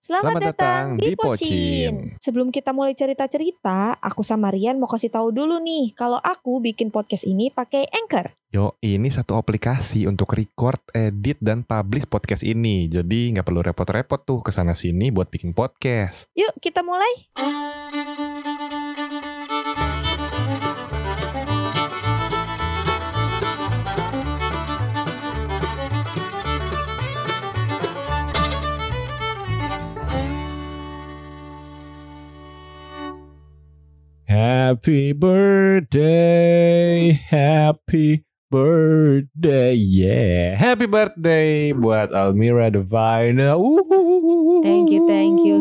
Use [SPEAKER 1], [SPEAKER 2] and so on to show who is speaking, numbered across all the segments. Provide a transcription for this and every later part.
[SPEAKER 1] Selamat,
[SPEAKER 2] Selamat
[SPEAKER 1] datang,
[SPEAKER 2] datang
[SPEAKER 1] di
[SPEAKER 2] di Pocin.
[SPEAKER 1] Pocin. Sebelum kita mulai cerita-cerita, aku sama Rian mau kasih tahu dulu nih kalau aku bikin podcast ini pakai Anchor.
[SPEAKER 2] Yo, ini satu aplikasi untuk record, edit, dan publish podcast ini. Jadi nggak perlu repot-repot tuh kesana sini buat bikin podcast.
[SPEAKER 1] Yuk, kita mulai.
[SPEAKER 3] Happy birthday, happy birthday, yeah.
[SPEAKER 2] Happy birthday buat Almira Devina.
[SPEAKER 4] Thank you, thank you.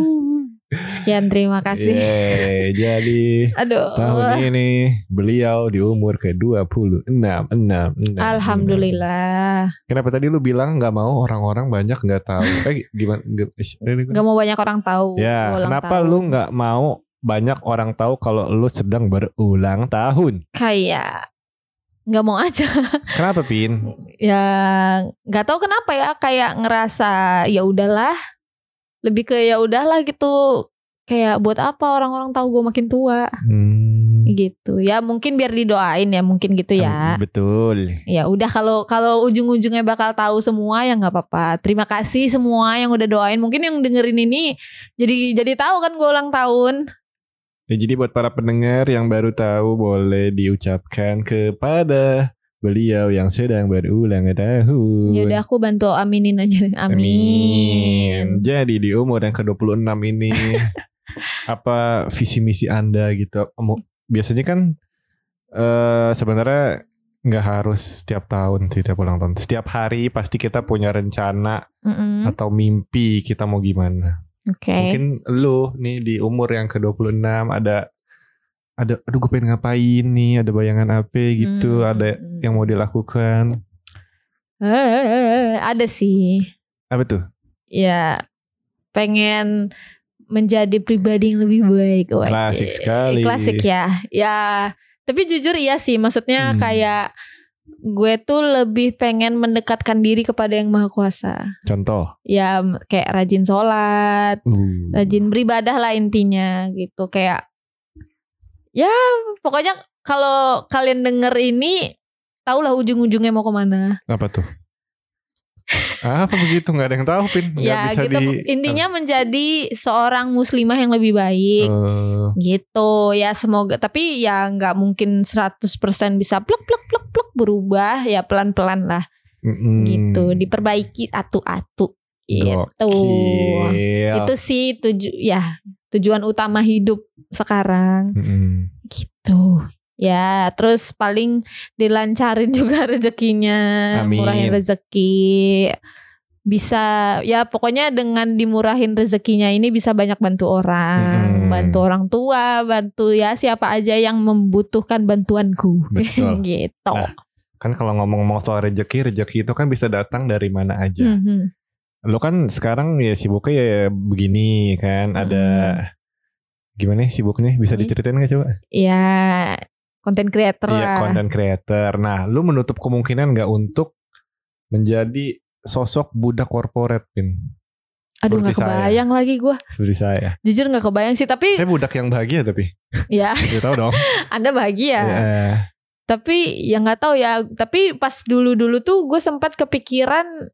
[SPEAKER 4] Sekian terima kasih.
[SPEAKER 2] Yeay, jadi
[SPEAKER 4] Aduh.
[SPEAKER 2] tahun ini beliau di umur ke-26. 6, 6,
[SPEAKER 4] Alhamdulillah.
[SPEAKER 2] Kenapa tadi lu bilang nggak mau orang-orang banyak nggak tahu? eh gimana? Nggak- ish, ini-
[SPEAKER 4] Gak mau banyak orang tahu.
[SPEAKER 2] Ya,
[SPEAKER 4] ulang
[SPEAKER 2] kenapa
[SPEAKER 4] tahun.
[SPEAKER 2] lu nggak mau banyak orang tahu kalau lu sedang berulang tahun?
[SPEAKER 4] kayak nggak mau aja?
[SPEAKER 2] Kenapa, Pin?
[SPEAKER 4] Ya nggak tahu kenapa ya kayak ngerasa ya udahlah. Lebih ke ya udahlah gitu. Kayak buat apa orang-orang tahu gue makin tua
[SPEAKER 2] Hmm,
[SPEAKER 4] gitu. Ya mungkin biar didoain ya mungkin gitu ya.
[SPEAKER 2] Betul.
[SPEAKER 4] Ya udah kalau kalau ujung-ujungnya bakal tahu semua ya nggak apa-apa. Terima kasih semua yang udah doain. Mungkin yang dengerin ini jadi jadi tahu kan gue ulang tahun.
[SPEAKER 2] Ya, jadi buat para pendengar yang baru tahu boleh diucapkan kepada beliau yang sedang berulang tahun.
[SPEAKER 4] Ya udah aku bantu aminin aja. Amin.
[SPEAKER 2] Jadi di umur yang ke-26 ini apa visi misi Anda gitu? Mau- Biasanya kan eh sebenarnya nggak harus setiap tahun sih, setiap ulang tahun. Setiap hari pasti kita punya rencana
[SPEAKER 4] Mm-mm.
[SPEAKER 2] atau mimpi kita mau gimana.
[SPEAKER 4] Hmm? Oke.
[SPEAKER 2] Mungkin lu nih di umur yang ke-26 ada ada aduh gue pengen ngapain nih, ada bayangan apa gitu,
[SPEAKER 4] Mm,
[SPEAKER 2] ada
[SPEAKER 4] mm,
[SPEAKER 2] yang mau dilakukan.
[SPEAKER 4] Eh, ada sih.
[SPEAKER 2] Apa tuh?
[SPEAKER 4] Ya pengen menjadi pribadi yang lebih baik. Wajib.
[SPEAKER 2] Klasik sekali.
[SPEAKER 4] Klasik ya. Ya, tapi jujur iya sih. Maksudnya
[SPEAKER 2] Hmm.
[SPEAKER 4] kayak gue tuh lebih pengen mendekatkan diri kepada yang maha kuasa.
[SPEAKER 2] Contoh.
[SPEAKER 4] Ya kayak rajin sholat,
[SPEAKER 2] Uh.
[SPEAKER 4] rajin beribadah lah intinya gitu kayak ya pokoknya kalau kalian denger ini tahulah ujung-ujungnya mau kemana
[SPEAKER 2] Apa tuh? Apa begitu? Nggak ada yang tahu, Pin. Nggak
[SPEAKER 4] ya
[SPEAKER 2] bisa
[SPEAKER 4] gitu
[SPEAKER 2] di... Ah.
[SPEAKER 4] intinya menjadi seorang muslimah yang lebih baik
[SPEAKER 2] Eh,
[SPEAKER 4] gitu ya semoga tapi ya nggak mungkin 100% bisa pluk pluk pluk pluk berubah ya pelan-pelan lah
[SPEAKER 2] mm-mm.
[SPEAKER 4] gitu diperbaiki atu-atu gitu
[SPEAKER 2] Gokil.
[SPEAKER 4] itu sih tuju ya tujuan utama hidup sekarang
[SPEAKER 2] Mm-mm.
[SPEAKER 4] gitu ya terus paling dilancarin juga rezekinya
[SPEAKER 2] Amin.
[SPEAKER 4] murahin rezeki bisa ya pokoknya dengan dimurahin rezekinya ini bisa banyak bantu
[SPEAKER 2] Mm-mm.
[SPEAKER 4] orang bantu orang tua bantu ya siapa aja yang membutuhkan bantuanku
[SPEAKER 2] Betul.
[SPEAKER 4] gitu
[SPEAKER 2] Nah, Kan kalau ngomong-ngomong soal rejeki, rejeki itu kan bisa datang dari mana aja.
[SPEAKER 4] Mhm.
[SPEAKER 2] Lo kan sekarang ya sibuknya ya begini kan, ada gimana ya sibuknya? Bisa
[SPEAKER 4] Hmm.
[SPEAKER 2] diceritain nggak coba?
[SPEAKER 4] ya konten creator
[SPEAKER 2] Iya,
[SPEAKER 4] lah
[SPEAKER 2] konten creator. Nah, lu menutup kemungkinan nggak untuk menjadi sosok budak korporat, Pin?
[SPEAKER 4] aduh
[SPEAKER 2] seperti
[SPEAKER 4] nggak
[SPEAKER 2] saya.
[SPEAKER 4] kebayang lagi gua
[SPEAKER 2] Seperti saya.
[SPEAKER 4] jujur nggak kebayang sih tapi
[SPEAKER 2] Saya budak yang bahagia tapi.
[SPEAKER 4] ya
[SPEAKER 2] Ya tahu dong.
[SPEAKER 4] anda bahagia
[SPEAKER 2] Iya.
[SPEAKER 4] tapi ya nggak tahu ya tapi pas dulu-dulu tuh gue sempat kepikiran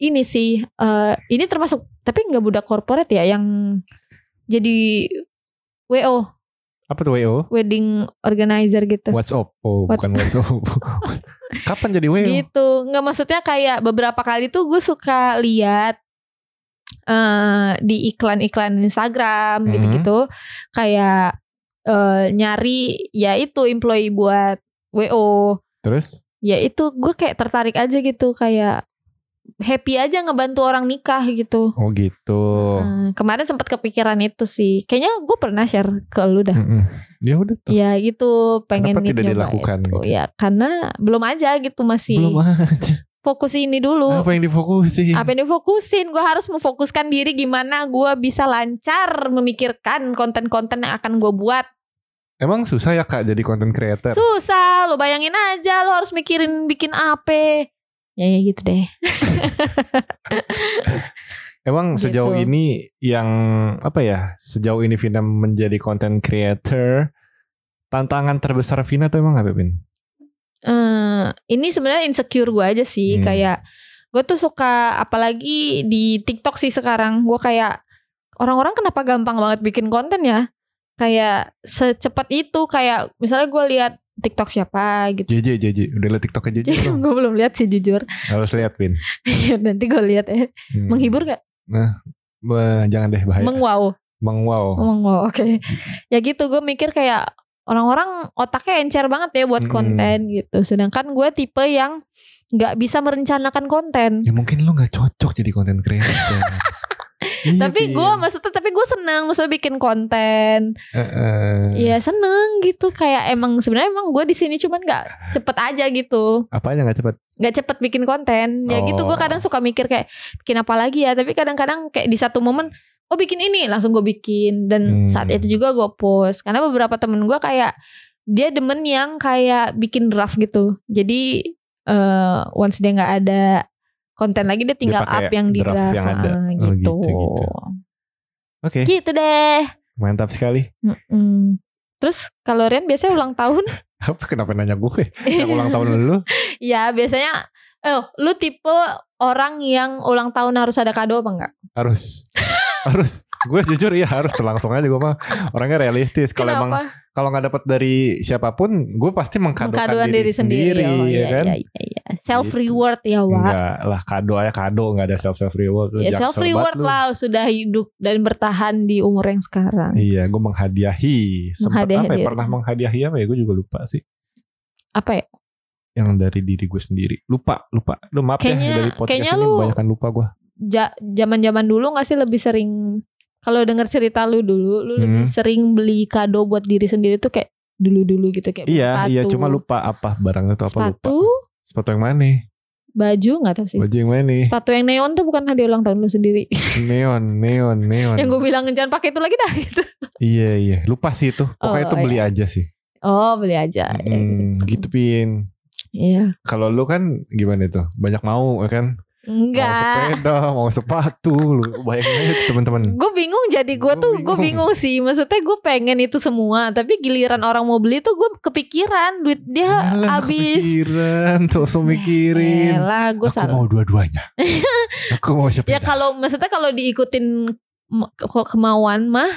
[SPEAKER 4] ini sih eh, ini termasuk tapi nggak budak korporat ya yang jadi WO
[SPEAKER 2] Apa tuh WO?
[SPEAKER 4] wedding organizer gitu
[SPEAKER 2] WhatsApp. Oh,
[SPEAKER 4] What's-
[SPEAKER 2] bukan WhatsApp. Kapan jadi WO?
[SPEAKER 4] gitu nggak maksudnya kayak beberapa kali tuh gue suka lihat eh di iklan-iklan Instagram
[SPEAKER 2] Mhm.
[SPEAKER 4] gitu-gitu kayak eh, nyari ya itu employee buat WO
[SPEAKER 2] Terus?
[SPEAKER 4] ya itu gue kayak tertarik aja gitu kayak happy aja ngebantu orang nikah gitu
[SPEAKER 2] Oh gitu.
[SPEAKER 4] Eh, kemarin sempat kepikiran itu sih kayaknya gue pernah share ke lu dah
[SPEAKER 2] Mm-mm. Ya udah tuh.
[SPEAKER 4] ya gitu pengen
[SPEAKER 2] Kenapa tidak
[SPEAKER 4] nyoba
[SPEAKER 2] dilakukan
[SPEAKER 4] itu.
[SPEAKER 2] gitu?
[SPEAKER 4] ya karena belum aja gitu masih
[SPEAKER 2] Belum aja.
[SPEAKER 4] fokus ini dulu
[SPEAKER 2] Apa yang difokusin?
[SPEAKER 4] apa yang difokusin gue harus memfokuskan diri gimana gue bisa lancar memikirkan konten-konten yang akan gue buat
[SPEAKER 2] Emang susah ya kak jadi content creator?
[SPEAKER 4] susah lo bayangin aja lo harus mikirin bikin apa ya ya gitu deh
[SPEAKER 2] Emang
[SPEAKER 4] Gitu.
[SPEAKER 2] sejauh ini yang apa ya? Sejauh ini Vina menjadi content creator, tantangan terbesar Vina tuh emang apa, Vin?
[SPEAKER 4] Eh, ini sebenarnya insecure gue aja sih
[SPEAKER 2] Hmm.
[SPEAKER 4] kayak gue tuh suka apalagi di TikTok sih sekarang gue kayak orang-orang kenapa gampang banget bikin konten ya kayak secepat itu kayak misalnya gue lihat TikTok siapa gitu
[SPEAKER 2] JJ, JJ. Udah liat TikTok JJ belum?
[SPEAKER 4] gue belum lihat sih jujur
[SPEAKER 2] Harus lihat, Vin.
[SPEAKER 4] Iya, nanti gue lihat ya
[SPEAKER 2] Hmm.
[SPEAKER 4] menghibur gak
[SPEAKER 2] Wah, jangan deh bahaya.
[SPEAKER 4] mengwow
[SPEAKER 2] Mengwow.
[SPEAKER 4] mengwow oke ya gitu gue mikir kayak orang-orang otaknya encer banget ya buat
[SPEAKER 2] Hmm.
[SPEAKER 4] konten gitu sedangkan gue tipe yang nggak bisa merencanakan konten
[SPEAKER 2] Ya mungkin lu nggak cocok jadi content creator. Iya,
[SPEAKER 4] tapi
[SPEAKER 2] Vin.
[SPEAKER 4] gue maksudnya tapi gue seneng maksudnya bikin konten
[SPEAKER 2] Eh, eh,
[SPEAKER 4] Iya seneng gitu kayak emang sebenarnya emang gue di sini cuman nggak cepet aja gitu
[SPEAKER 2] Apa aja nggak cepet?
[SPEAKER 4] nggak cepet bikin konten ya gitu gue
[SPEAKER 2] Oh.
[SPEAKER 4] kadang suka mikir kayak bikin apa lagi ya tapi kadang-kadang kayak di satu momen oh bikin ini langsung gue bikin
[SPEAKER 2] Hmm.
[SPEAKER 4] dan saat itu juga gue post karena beberapa temen gue kayak dia demen yang kayak bikin draft gitu jadi eh once dia nggak ada konten lagi dia tinggal
[SPEAKER 2] pakai
[SPEAKER 4] up yang di
[SPEAKER 2] draft
[SPEAKER 4] draft,
[SPEAKER 2] yang ada.
[SPEAKER 4] Ah,
[SPEAKER 2] Oh,
[SPEAKER 4] gitu.
[SPEAKER 2] gitu, gitu. Oke,
[SPEAKER 4] gitu deh
[SPEAKER 2] mantap sekali.
[SPEAKER 4] Mm-mm. Terus kalau Rian biasanya ulang tahun?
[SPEAKER 2] Apa kenapa nanya gue? Yang Iya, ulang tahun lu?
[SPEAKER 4] ya biasanya. Eh, lu tipe orang yang ulang tahun harus ada kado apa enggak?
[SPEAKER 2] harus harus gue jujur ya harus tuh, langsung aja gue mah orangnya realistis kalau emang
[SPEAKER 4] Kenapa?
[SPEAKER 2] kalau nggak dapat dari siapapun gue pasti mengkadokan
[SPEAKER 4] Mengkadoan
[SPEAKER 2] diri, sendiri,
[SPEAKER 4] Oh,
[SPEAKER 2] ya
[SPEAKER 4] iya,
[SPEAKER 2] kan
[SPEAKER 4] iya, iya, iya. Self
[SPEAKER 2] Gitu.
[SPEAKER 4] reward ya, Wak.
[SPEAKER 2] Enggak lah kado aja kado nggak ada self self reward Lu
[SPEAKER 4] Ya
[SPEAKER 2] jaksel
[SPEAKER 4] self
[SPEAKER 2] banget
[SPEAKER 4] reward
[SPEAKER 2] lu.
[SPEAKER 4] lah sudah hidup dan bertahan di umur yang sekarang.
[SPEAKER 2] iya gue menghadiahi sempat
[SPEAKER 4] Menghadiahi
[SPEAKER 2] apa ya
[SPEAKER 4] diri.
[SPEAKER 2] pernah menghadiahi apa ya gue juga lupa sih
[SPEAKER 4] Apa ya?
[SPEAKER 2] yang dari diri gue sendiri lupa lupa lu maaf
[SPEAKER 4] Kayaknya-
[SPEAKER 2] ya dari podcast
[SPEAKER 4] kayaknya
[SPEAKER 2] ini
[SPEAKER 4] lu-
[SPEAKER 2] kebanyakan lupa gue
[SPEAKER 4] Ja- Zaman-zaman dulu nggak sih lebih sering kalau denger cerita lu dulu, lu
[SPEAKER 2] Hmm.
[SPEAKER 4] lebih sering beli kado buat diri sendiri tuh kayak dulu-dulu gitu kayak
[SPEAKER 2] iya
[SPEAKER 4] sepatu.
[SPEAKER 2] iya cuma lupa apa barangnya tuh apa lupa
[SPEAKER 4] sepatu,
[SPEAKER 2] sepatu yang mana
[SPEAKER 4] baju nggak tahu sih.
[SPEAKER 2] baju yang mana
[SPEAKER 4] Sepatu yang neon tuh bukan hadiah ulang tahun lu sendiri.
[SPEAKER 2] neon neon neon
[SPEAKER 4] yang gue bilang jangan pakai itu lagi dah gitu.
[SPEAKER 2] Iya iya, lupa sih itu. Pokoknya
[SPEAKER 4] Oh,
[SPEAKER 2] itu beli aja sih.
[SPEAKER 4] Oh, beli aja. Ya,
[SPEAKER 2] Hmm, gitu pin.
[SPEAKER 4] Iya.
[SPEAKER 2] Kalau lu kan gimana itu? Banyak mau ya kan? Mau
[SPEAKER 4] Enggak.
[SPEAKER 2] Oh, sepeda, mau sepatu, lu bayangin aja tuh, teman-teman.
[SPEAKER 4] Gue bingung jadi gue
[SPEAKER 2] Gua
[SPEAKER 4] tuh gue
[SPEAKER 2] bingung.
[SPEAKER 4] bingung sih. Maksudnya gue pengen itu semua, tapi giliran orang mau beli tuh gue kepikiran duit dia
[SPEAKER 2] Alah,
[SPEAKER 4] habis.
[SPEAKER 2] Kepikiran, tuh langsung mikirin.
[SPEAKER 4] Lah, gue
[SPEAKER 2] Aku
[SPEAKER 4] Iya, salah.
[SPEAKER 2] mau dua-duanya. Aku mau
[SPEAKER 4] Ya
[SPEAKER 2] sepeda.
[SPEAKER 4] kalau maksudnya kalau diikutin m- ke- kemauan mah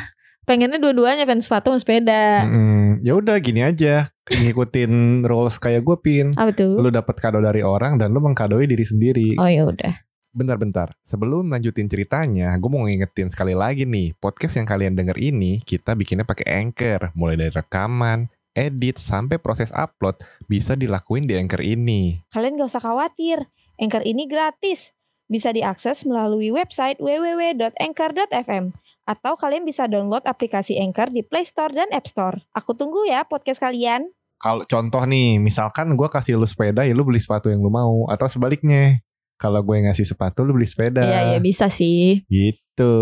[SPEAKER 4] pengennya dua-duanya pengen sepatu sama sepeda.
[SPEAKER 2] Mm, ya udah gini aja, ngikutin rules kayak gue pin.
[SPEAKER 4] Apa tuh?
[SPEAKER 2] Lu dapat kado dari orang dan lu mengkadoi diri sendiri.
[SPEAKER 4] Oh ya udah.
[SPEAKER 2] Bentar-bentar, sebelum lanjutin ceritanya, gue mau ngingetin sekali lagi nih, podcast yang kalian denger ini, kita bikinnya pakai Anchor. Mulai dari rekaman, edit, sampai proses upload, bisa dilakuin di Anchor ini.
[SPEAKER 1] Kalian gak usah khawatir, Anchor ini gratis. Bisa diakses melalui website www.anchor.fm atau kalian bisa download aplikasi Anchor di Play Store dan App Store. Aku tunggu ya podcast kalian.
[SPEAKER 2] Kalau contoh nih, misalkan gue kasih lu sepeda, ya lu beli sepatu yang lu mau. Atau sebaliknya, kalau gue ngasih sepatu, lu beli sepeda.
[SPEAKER 4] Iya ya bisa sih.
[SPEAKER 2] Gitu.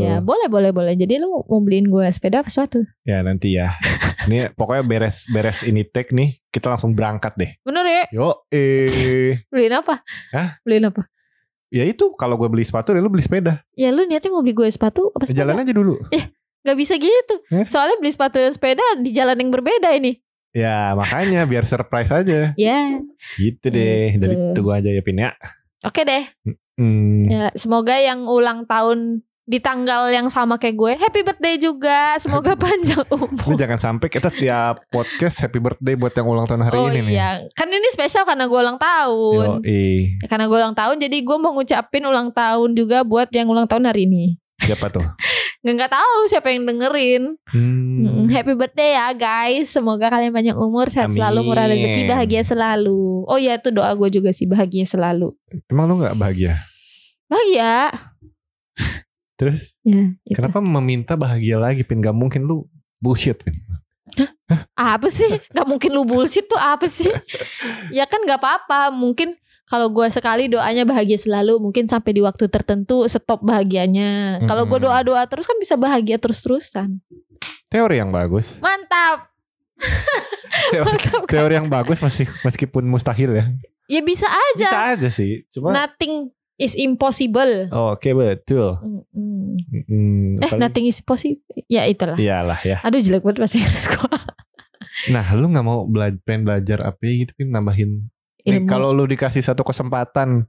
[SPEAKER 4] Ya boleh boleh boleh. Jadi lu mau beliin gue sepeda apa sepatu?
[SPEAKER 2] Ya nanti ya. ini pokoknya beres-beres ini take nih, kita langsung berangkat deh.
[SPEAKER 4] Bener ya?
[SPEAKER 2] Yo, eh.
[SPEAKER 4] Beliin apa?
[SPEAKER 2] Hah?
[SPEAKER 4] Beliin apa?
[SPEAKER 2] ya itu, kalau gue beli sepatu, ya lu beli sepeda.
[SPEAKER 4] Ya lu niatnya mau beli gue sepatu apa sepeda?
[SPEAKER 2] Jalan aja dulu.
[SPEAKER 4] Gak bisa gitu.
[SPEAKER 2] Hah?
[SPEAKER 4] Soalnya beli sepatu dan sepeda di jalan yang berbeda ini.
[SPEAKER 2] Ya makanya biar surprise aja.
[SPEAKER 4] Ya.
[SPEAKER 2] Gitu deh. Dari
[SPEAKER 4] Gitu.
[SPEAKER 2] itu gua aja ya Pin ya.
[SPEAKER 4] Oke deh.
[SPEAKER 2] Hmm.
[SPEAKER 4] Ya, semoga yang ulang tahun di tanggal yang sama kayak gue happy birthday juga. Semoga panjang
[SPEAKER 2] Lu
[SPEAKER 4] umur.
[SPEAKER 2] jangan sampai kita tiap podcast happy birthday buat yang ulang tahun hari
[SPEAKER 4] oh
[SPEAKER 2] ini nih.
[SPEAKER 4] iya, kan ini spesial karena gue ulang tahun.
[SPEAKER 2] Yoi.
[SPEAKER 4] Ya, Karena gue ulang tahun, jadi gue mau ngucapin ulang tahun juga buat yang ulang tahun hari ini.
[SPEAKER 2] Siapa tuh?
[SPEAKER 4] Nggak, nggak tahu siapa yang dengerin. Mm,
[SPEAKER 2] Hmm.
[SPEAKER 4] Happy birthday ya guys. Semoga kalian panjang umur, sehat selalu, murah rezeki,
[SPEAKER 2] Amin.
[SPEAKER 4] bahagia selalu. Oh iya itu doa gue juga sih, bahagia selalu.
[SPEAKER 2] Emang lu gak bahagia?
[SPEAKER 4] Bahagia.
[SPEAKER 2] Terus
[SPEAKER 4] Ya, itu.
[SPEAKER 2] kenapa meminta bahagia lagi Pin? Gak mungkin lu bullshit Pin.
[SPEAKER 4] Apa sih? Gak mungkin lu bullshit tuh apa sih? ya kan gak apa-apa. Mungkin kalau gue sekali doanya bahagia selalu, mungkin sampai di waktu tertentu stop bahagianya. Kalau gue
[SPEAKER 2] Mm-mm.
[SPEAKER 4] doa-doa terus kan bisa bahagia terus-terusan.
[SPEAKER 2] Teori yang bagus.
[SPEAKER 4] Mantap.
[SPEAKER 2] Teori,
[SPEAKER 4] Mantap. kan?
[SPEAKER 2] teori yang bagus masih meskipun mustahil ya.
[SPEAKER 4] Ya bisa
[SPEAKER 2] Bisa
[SPEAKER 4] aja. Nah.
[SPEAKER 2] aja sih. Cuma
[SPEAKER 4] Nothing is impossible.
[SPEAKER 2] Oke betul.
[SPEAKER 4] Mm-mm.
[SPEAKER 2] Mm,
[SPEAKER 4] Eh,
[SPEAKER 2] apalagi-
[SPEAKER 4] nothing is possible. Ya itulah.
[SPEAKER 2] Iyalah ya.
[SPEAKER 4] Aduh jelek banget bahasa Inggris gua.
[SPEAKER 2] Nah, lu nggak mau belajar pengen belajar apa gitu Pin, nambahin. Nih,
[SPEAKER 4] Ilmu.
[SPEAKER 2] kalau lu dikasih satu kesempatan,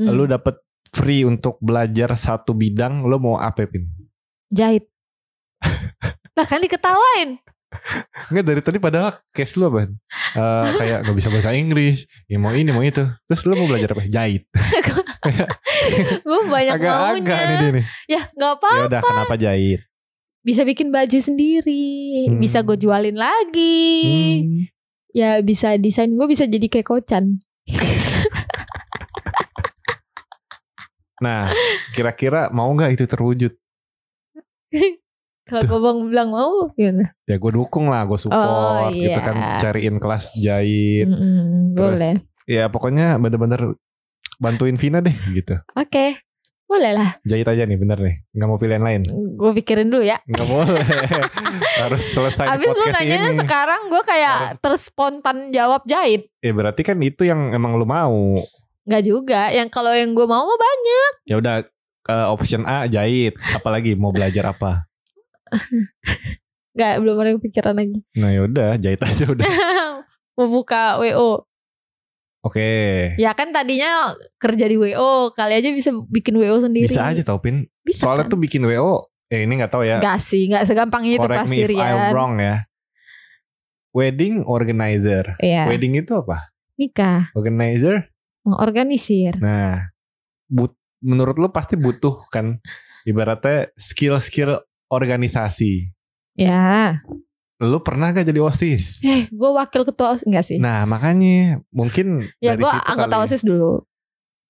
[SPEAKER 4] Mm.
[SPEAKER 2] lu dapet free untuk belajar satu bidang, lu mau apa Pin?
[SPEAKER 4] jahit. lah kan diketawain.
[SPEAKER 2] Enggak dari tadi padahal case lu apa? Eh, kayak nggak bisa bahasa Inggris, ya mau ini mau itu. Terus lu mau belajar apa? Jahit.
[SPEAKER 4] Gua banyak
[SPEAKER 2] Agak-agak
[SPEAKER 4] maunya.
[SPEAKER 2] nih dia nih.
[SPEAKER 4] Ya nggak apa.
[SPEAKER 2] Ya udah kenapa jahit?
[SPEAKER 4] Bisa bikin baju sendiri.
[SPEAKER 2] Hmm.
[SPEAKER 4] Bisa gue jualin lagi.
[SPEAKER 2] Hmm.
[SPEAKER 4] Ya bisa desain. Gue bisa jadi kayak kocan.
[SPEAKER 2] Nah, kira-kira mau nggak itu terwujud?
[SPEAKER 4] Kalau gue bilang mau gimana?
[SPEAKER 2] Ya gue dukung lah, gue support
[SPEAKER 4] Oh,
[SPEAKER 2] gitu
[SPEAKER 4] iya. Hmm.
[SPEAKER 2] kan cariin kelas jahit. Iya.
[SPEAKER 4] Mm-mm,
[SPEAKER 2] Terus,
[SPEAKER 4] boleh.
[SPEAKER 2] Ya pokoknya bener-bener bantuin Vina deh gitu.
[SPEAKER 4] Oke. Boleh lah.
[SPEAKER 2] Jahit aja nih bener nih. Nggak mau pilihan lain.
[SPEAKER 4] Gue pikirin dulu ya.
[SPEAKER 2] Nggak boleh. Harus selesai di
[SPEAKER 4] Abis lu
[SPEAKER 2] podcast
[SPEAKER 4] nanya
[SPEAKER 2] Nah, ini.
[SPEAKER 4] sekarang gue kayak terspontan jawab jahit.
[SPEAKER 2] Ya berarti kan itu yang emang lu mau.
[SPEAKER 4] Gak juga. Yang kalau yang gue mau mah banyak.
[SPEAKER 2] Ya udah eh, option A jahit. Apalagi mau belajar apa?
[SPEAKER 4] Gak belum ada yang pikiran lagi.
[SPEAKER 2] Nah yaudah jahit aja udah.
[SPEAKER 4] mau buka WO.
[SPEAKER 2] Oke.
[SPEAKER 4] Ya kan tadinya kerja di WO. Kali aja bisa bikin WO sendiri.
[SPEAKER 2] Bisa aja tau Pin.
[SPEAKER 4] Bisa.
[SPEAKER 2] Soalnya tuh bikin WO. Eh ini nggak tahu ya.
[SPEAKER 4] Gak sih. Gak segampang itu
[SPEAKER 2] Correct
[SPEAKER 4] pasti
[SPEAKER 2] me if I'm
[SPEAKER 4] Rian.
[SPEAKER 2] wrong ya. Wedding organizer.
[SPEAKER 4] Iya.
[SPEAKER 2] Wedding itu apa?
[SPEAKER 4] Nikah.
[SPEAKER 2] Organizer
[SPEAKER 4] Mengorganisir.
[SPEAKER 2] Nah, but, menurut lu pasti butuh kan ibaratnya skill-skill organisasi.
[SPEAKER 4] Ya.
[SPEAKER 2] Lu pernah gak jadi OSIS?
[SPEAKER 4] Eh gue wakil ketua. OSIS. Enggak sih.
[SPEAKER 2] Nah, makanya mungkin
[SPEAKER 4] ya
[SPEAKER 2] dari
[SPEAKER 4] gue
[SPEAKER 2] situ
[SPEAKER 4] anggota
[SPEAKER 2] kali.
[SPEAKER 4] OSIS dulu.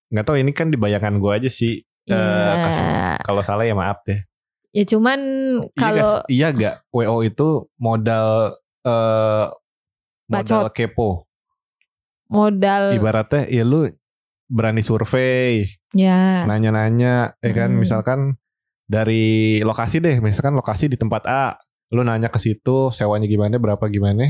[SPEAKER 2] Nggak tahu ini kan di bayangan gue aja sih. Eh,
[SPEAKER 4] Iya.
[SPEAKER 2] kasih- Kalau salah ya maaf deh.
[SPEAKER 4] Ya cuman kalau
[SPEAKER 2] Iya gak, iya gak WO itu modal eh modal kepo.
[SPEAKER 4] modal
[SPEAKER 2] Ibaratnya ya lu berani survei,
[SPEAKER 4] ya
[SPEAKER 2] nanya-nanya ya kan
[SPEAKER 4] Hmm.
[SPEAKER 2] misalkan dari lokasi deh misalkan lokasi di tempat A lu nanya ke situ sewanya gimana berapa gimana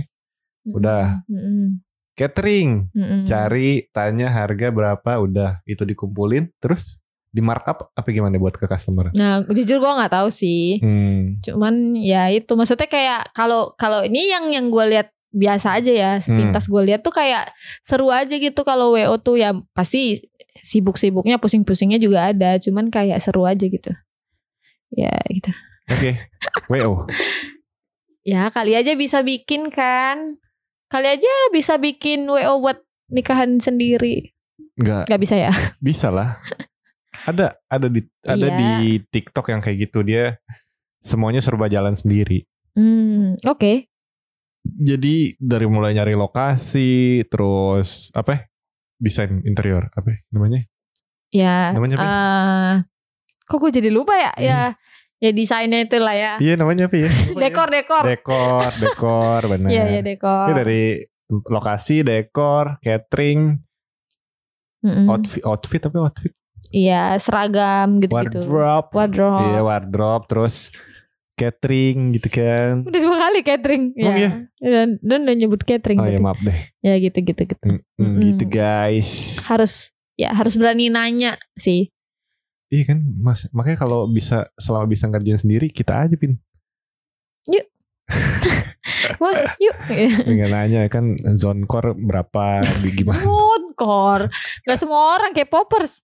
[SPEAKER 2] Nah, Udah.
[SPEAKER 4] Mm-mm.
[SPEAKER 2] catering
[SPEAKER 4] Mm-mm.
[SPEAKER 2] cari tanya harga berapa udah itu dikumpulin terus di markup apa gimana buat ke customer
[SPEAKER 4] Nah, jujur gue nggak tahu sih.
[SPEAKER 2] hmm.
[SPEAKER 4] Cuman ya itu maksudnya kayak kalau kalau ini yang yang gue lihat biasa aja ya, sepintas gue lihat tuh kayak seru aja gitu kalau WO tuh ya pasti sibuk-sibuknya, pusing-pusingnya juga ada, cuman kayak seru aja gitu. Ya gitu.
[SPEAKER 2] oke WO
[SPEAKER 4] Ya, kali aja bisa bikin kan. Kali aja bisa bikin WO buat nikahan sendiri.
[SPEAKER 2] nggak
[SPEAKER 4] Gak bisa ya?
[SPEAKER 2] bisa lah ada ada di ada
[SPEAKER 4] Iya.
[SPEAKER 2] di TikTok yang kayak gitu dia semuanya serba jalan sendiri
[SPEAKER 4] Hmm, oke.
[SPEAKER 2] Jadi dari mulai nyari lokasi, terus apa? ya? Desain interior apa ya namanya?
[SPEAKER 4] Ya.
[SPEAKER 2] Namanya apa ya?
[SPEAKER 4] eh, kok gue jadi lupa ya? Ya, ya desainnya itu lah ya.
[SPEAKER 2] Iya namanya apa ya? Lupa ya?
[SPEAKER 4] Dekor, dekor.
[SPEAKER 2] Dekor, dekor, benar.
[SPEAKER 4] Iya, iya dekor.
[SPEAKER 2] Ini dari lokasi, dekor, catering,
[SPEAKER 4] Mm-mm.
[SPEAKER 2] outfit, outfit tapi outfit,
[SPEAKER 4] Iya, seragam gitu-gitu.
[SPEAKER 2] wardrobe,
[SPEAKER 4] Wardrobe.
[SPEAKER 2] iya wardrobe, terus catering gitu kan?
[SPEAKER 4] Udah dua kali catering.
[SPEAKER 2] Oh, iya?
[SPEAKER 4] Dan, dan udah nyebut catering.
[SPEAKER 2] Oh ya
[SPEAKER 4] tadi.
[SPEAKER 2] maaf deh,
[SPEAKER 4] ya gitu-gitu gitu.
[SPEAKER 2] Mm, mm,
[SPEAKER 4] Iya. Mm-mm.
[SPEAKER 2] gitu guys.
[SPEAKER 4] Harus ya harus berani nanya sih.
[SPEAKER 2] Iya kan, mas, makanya kalau bisa selama bisa ngerjain sendiri kita aja pin.
[SPEAKER 4] Wah, yuk.
[SPEAKER 2] Tinggal nanya kan zone core berapa, gimana?
[SPEAKER 4] Monkor. Gak semua orang K-popers.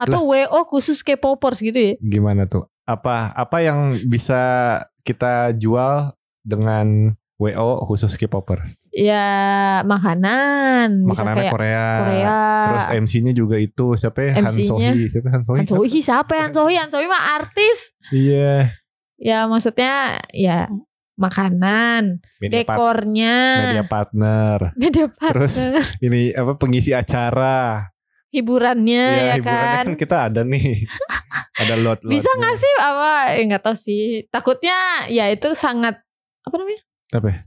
[SPEAKER 4] Atau WO khusus K-popers gitu ya.
[SPEAKER 2] gimana tuh? Apa apa yang bisa kita jual dengan WO khusus K-popers?
[SPEAKER 4] Ya makanan. Bisa
[SPEAKER 2] Makanannya
[SPEAKER 4] kayak
[SPEAKER 2] Korea.
[SPEAKER 4] Korea.
[SPEAKER 2] Terus eh, MC-nya juga itu siapa ya? Han
[SPEAKER 4] MC-nya.
[SPEAKER 2] Sohee. Siapa Han Sohee?
[SPEAKER 4] Han Sohee siapa ya Han Sohee? Han Sohee mah artis.
[SPEAKER 2] Iya.
[SPEAKER 4] Ya maksudnya ya makanan,
[SPEAKER 2] Media, part- Nah,
[SPEAKER 4] dekornya,
[SPEAKER 2] media partner.
[SPEAKER 4] beda partner,
[SPEAKER 2] Terus ini apa pengisi acara?
[SPEAKER 4] hiburannya ya,
[SPEAKER 2] hiburannya
[SPEAKER 4] kan.
[SPEAKER 2] kan kita ada nih. ada lot lot.
[SPEAKER 4] Bisa nggak sih apa? Ya, nggak tahu sih. Takutnya ya itu sangat apa namanya?
[SPEAKER 2] Apa? ya?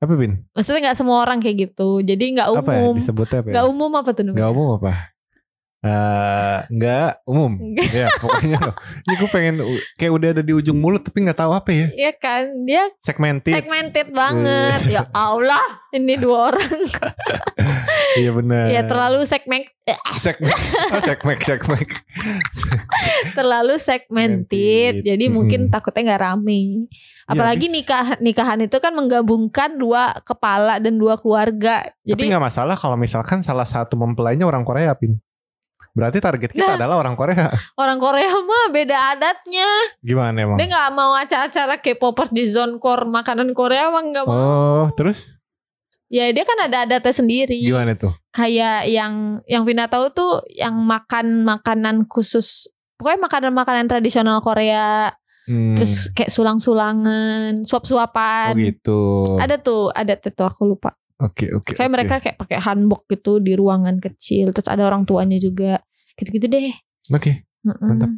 [SPEAKER 2] Apa Bin?
[SPEAKER 4] Maksudnya nggak semua orang kayak gitu. Jadi nggak
[SPEAKER 2] Apa ya
[SPEAKER 4] umum.
[SPEAKER 2] disebutnya apa? Ya?
[SPEAKER 4] Nggak umum apa tuh namanya?
[SPEAKER 2] Gak umum apa? Eh, enggak umum
[SPEAKER 4] Enggak.
[SPEAKER 2] ya pokoknya loh ini gue pengen u- kayak udah ada di ujung mulut tapi nggak tahu apa ya
[SPEAKER 4] Iya kan dia
[SPEAKER 2] segmented
[SPEAKER 4] segmented banget ya Allah ini dua orang
[SPEAKER 2] iya benar
[SPEAKER 4] ya terlalu segmen eh,
[SPEAKER 2] segmen oh, segmen segmen
[SPEAKER 4] terlalu segmented
[SPEAKER 2] Segmented.
[SPEAKER 4] jadi mungkin
[SPEAKER 2] Mm-mm. Iya,
[SPEAKER 4] takutnya nggak rame apalagi
[SPEAKER 2] bis-
[SPEAKER 4] nikah nikahan itu kan menggabungkan dua kepala dan dua keluarga
[SPEAKER 2] tapi
[SPEAKER 4] jadi
[SPEAKER 2] nggak masalah kalau misalkan salah satu mempelainya orang Korea pin berarti target
[SPEAKER 4] Nah.
[SPEAKER 2] kita adalah orang Korea
[SPEAKER 4] orang Korea mah beda adatnya
[SPEAKER 2] gimana emang
[SPEAKER 4] dia nggak mau acara-acara K-popers di zone core makanan Korea mah nggak mau
[SPEAKER 2] oh terus
[SPEAKER 4] ya dia kan ada adatnya sendiri
[SPEAKER 2] gimana tuh
[SPEAKER 4] kayak yang yang Vina tahu tuh yang makan makanan khusus pokoknya makanan-makanan tradisional Korea
[SPEAKER 2] Hmm,
[SPEAKER 4] terus kayak
[SPEAKER 2] oh
[SPEAKER 4] sulang-sulangan suap-suapan
[SPEAKER 2] gitu
[SPEAKER 4] ada tuh ada tuh aku lupa
[SPEAKER 2] oke oke
[SPEAKER 4] kayak
[SPEAKER 2] oke.
[SPEAKER 4] mereka kayak pakai hanbok gitu di ruangan kecil terus ada orang tuanya juga gitu-gitu deh
[SPEAKER 2] oke
[SPEAKER 4] Heeh.
[SPEAKER 2] Mantap.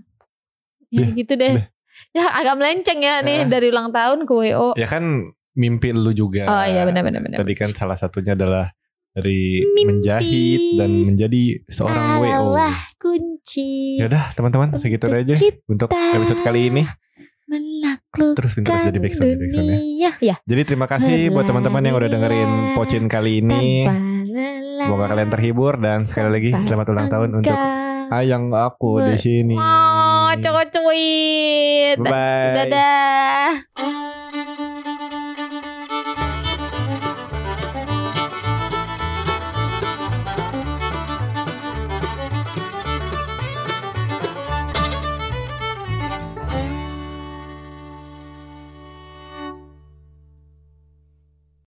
[SPEAKER 4] ya
[SPEAKER 2] Deh,
[SPEAKER 4] gitu deh
[SPEAKER 2] deh.
[SPEAKER 4] ya agak melenceng ya nih
[SPEAKER 2] Eh.
[SPEAKER 4] dari ulang tahun ke WO
[SPEAKER 2] ya kan mimpi lu juga
[SPEAKER 4] oh iya benar-benar benar
[SPEAKER 2] Tadi kan salah satunya adalah dari
[SPEAKER 4] Mimpi.
[SPEAKER 2] menjahit dan menjadi seorang WO.
[SPEAKER 4] Allah kunci
[SPEAKER 2] Yaudah Ya teman-teman segitu
[SPEAKER 4] Untuk
[SPEAKER 2] aja
[SPEAKER 4] kita
[SPEAKER 2] untuk episode kali ini.
[SPEAKER 4] menakluk
[SPEAKER 2] Terus pindah terus jadi backsound jadi backsound ya.
[SPEAKER 4] dunia ya
[SPEAKER 2] Jadi terima kasih buat teman-teman yang udah dengerin Pocin kali ini.
[SPEAKER 4] tanpa lelah.
[SPEAKER 2] Semoga kalian terhibur dan sekali lagi
[SPEAKER 4] Sampai
[SPEAKER 2] selamat ulang tahun untuk
[SPEAKER 4] engkau
[SPEAKER 2] ayang aku di sini.
[SPEAKER 4] mau cowok cuit
[SPEAKER 2] Bye.
[SPEAKER 4] dadah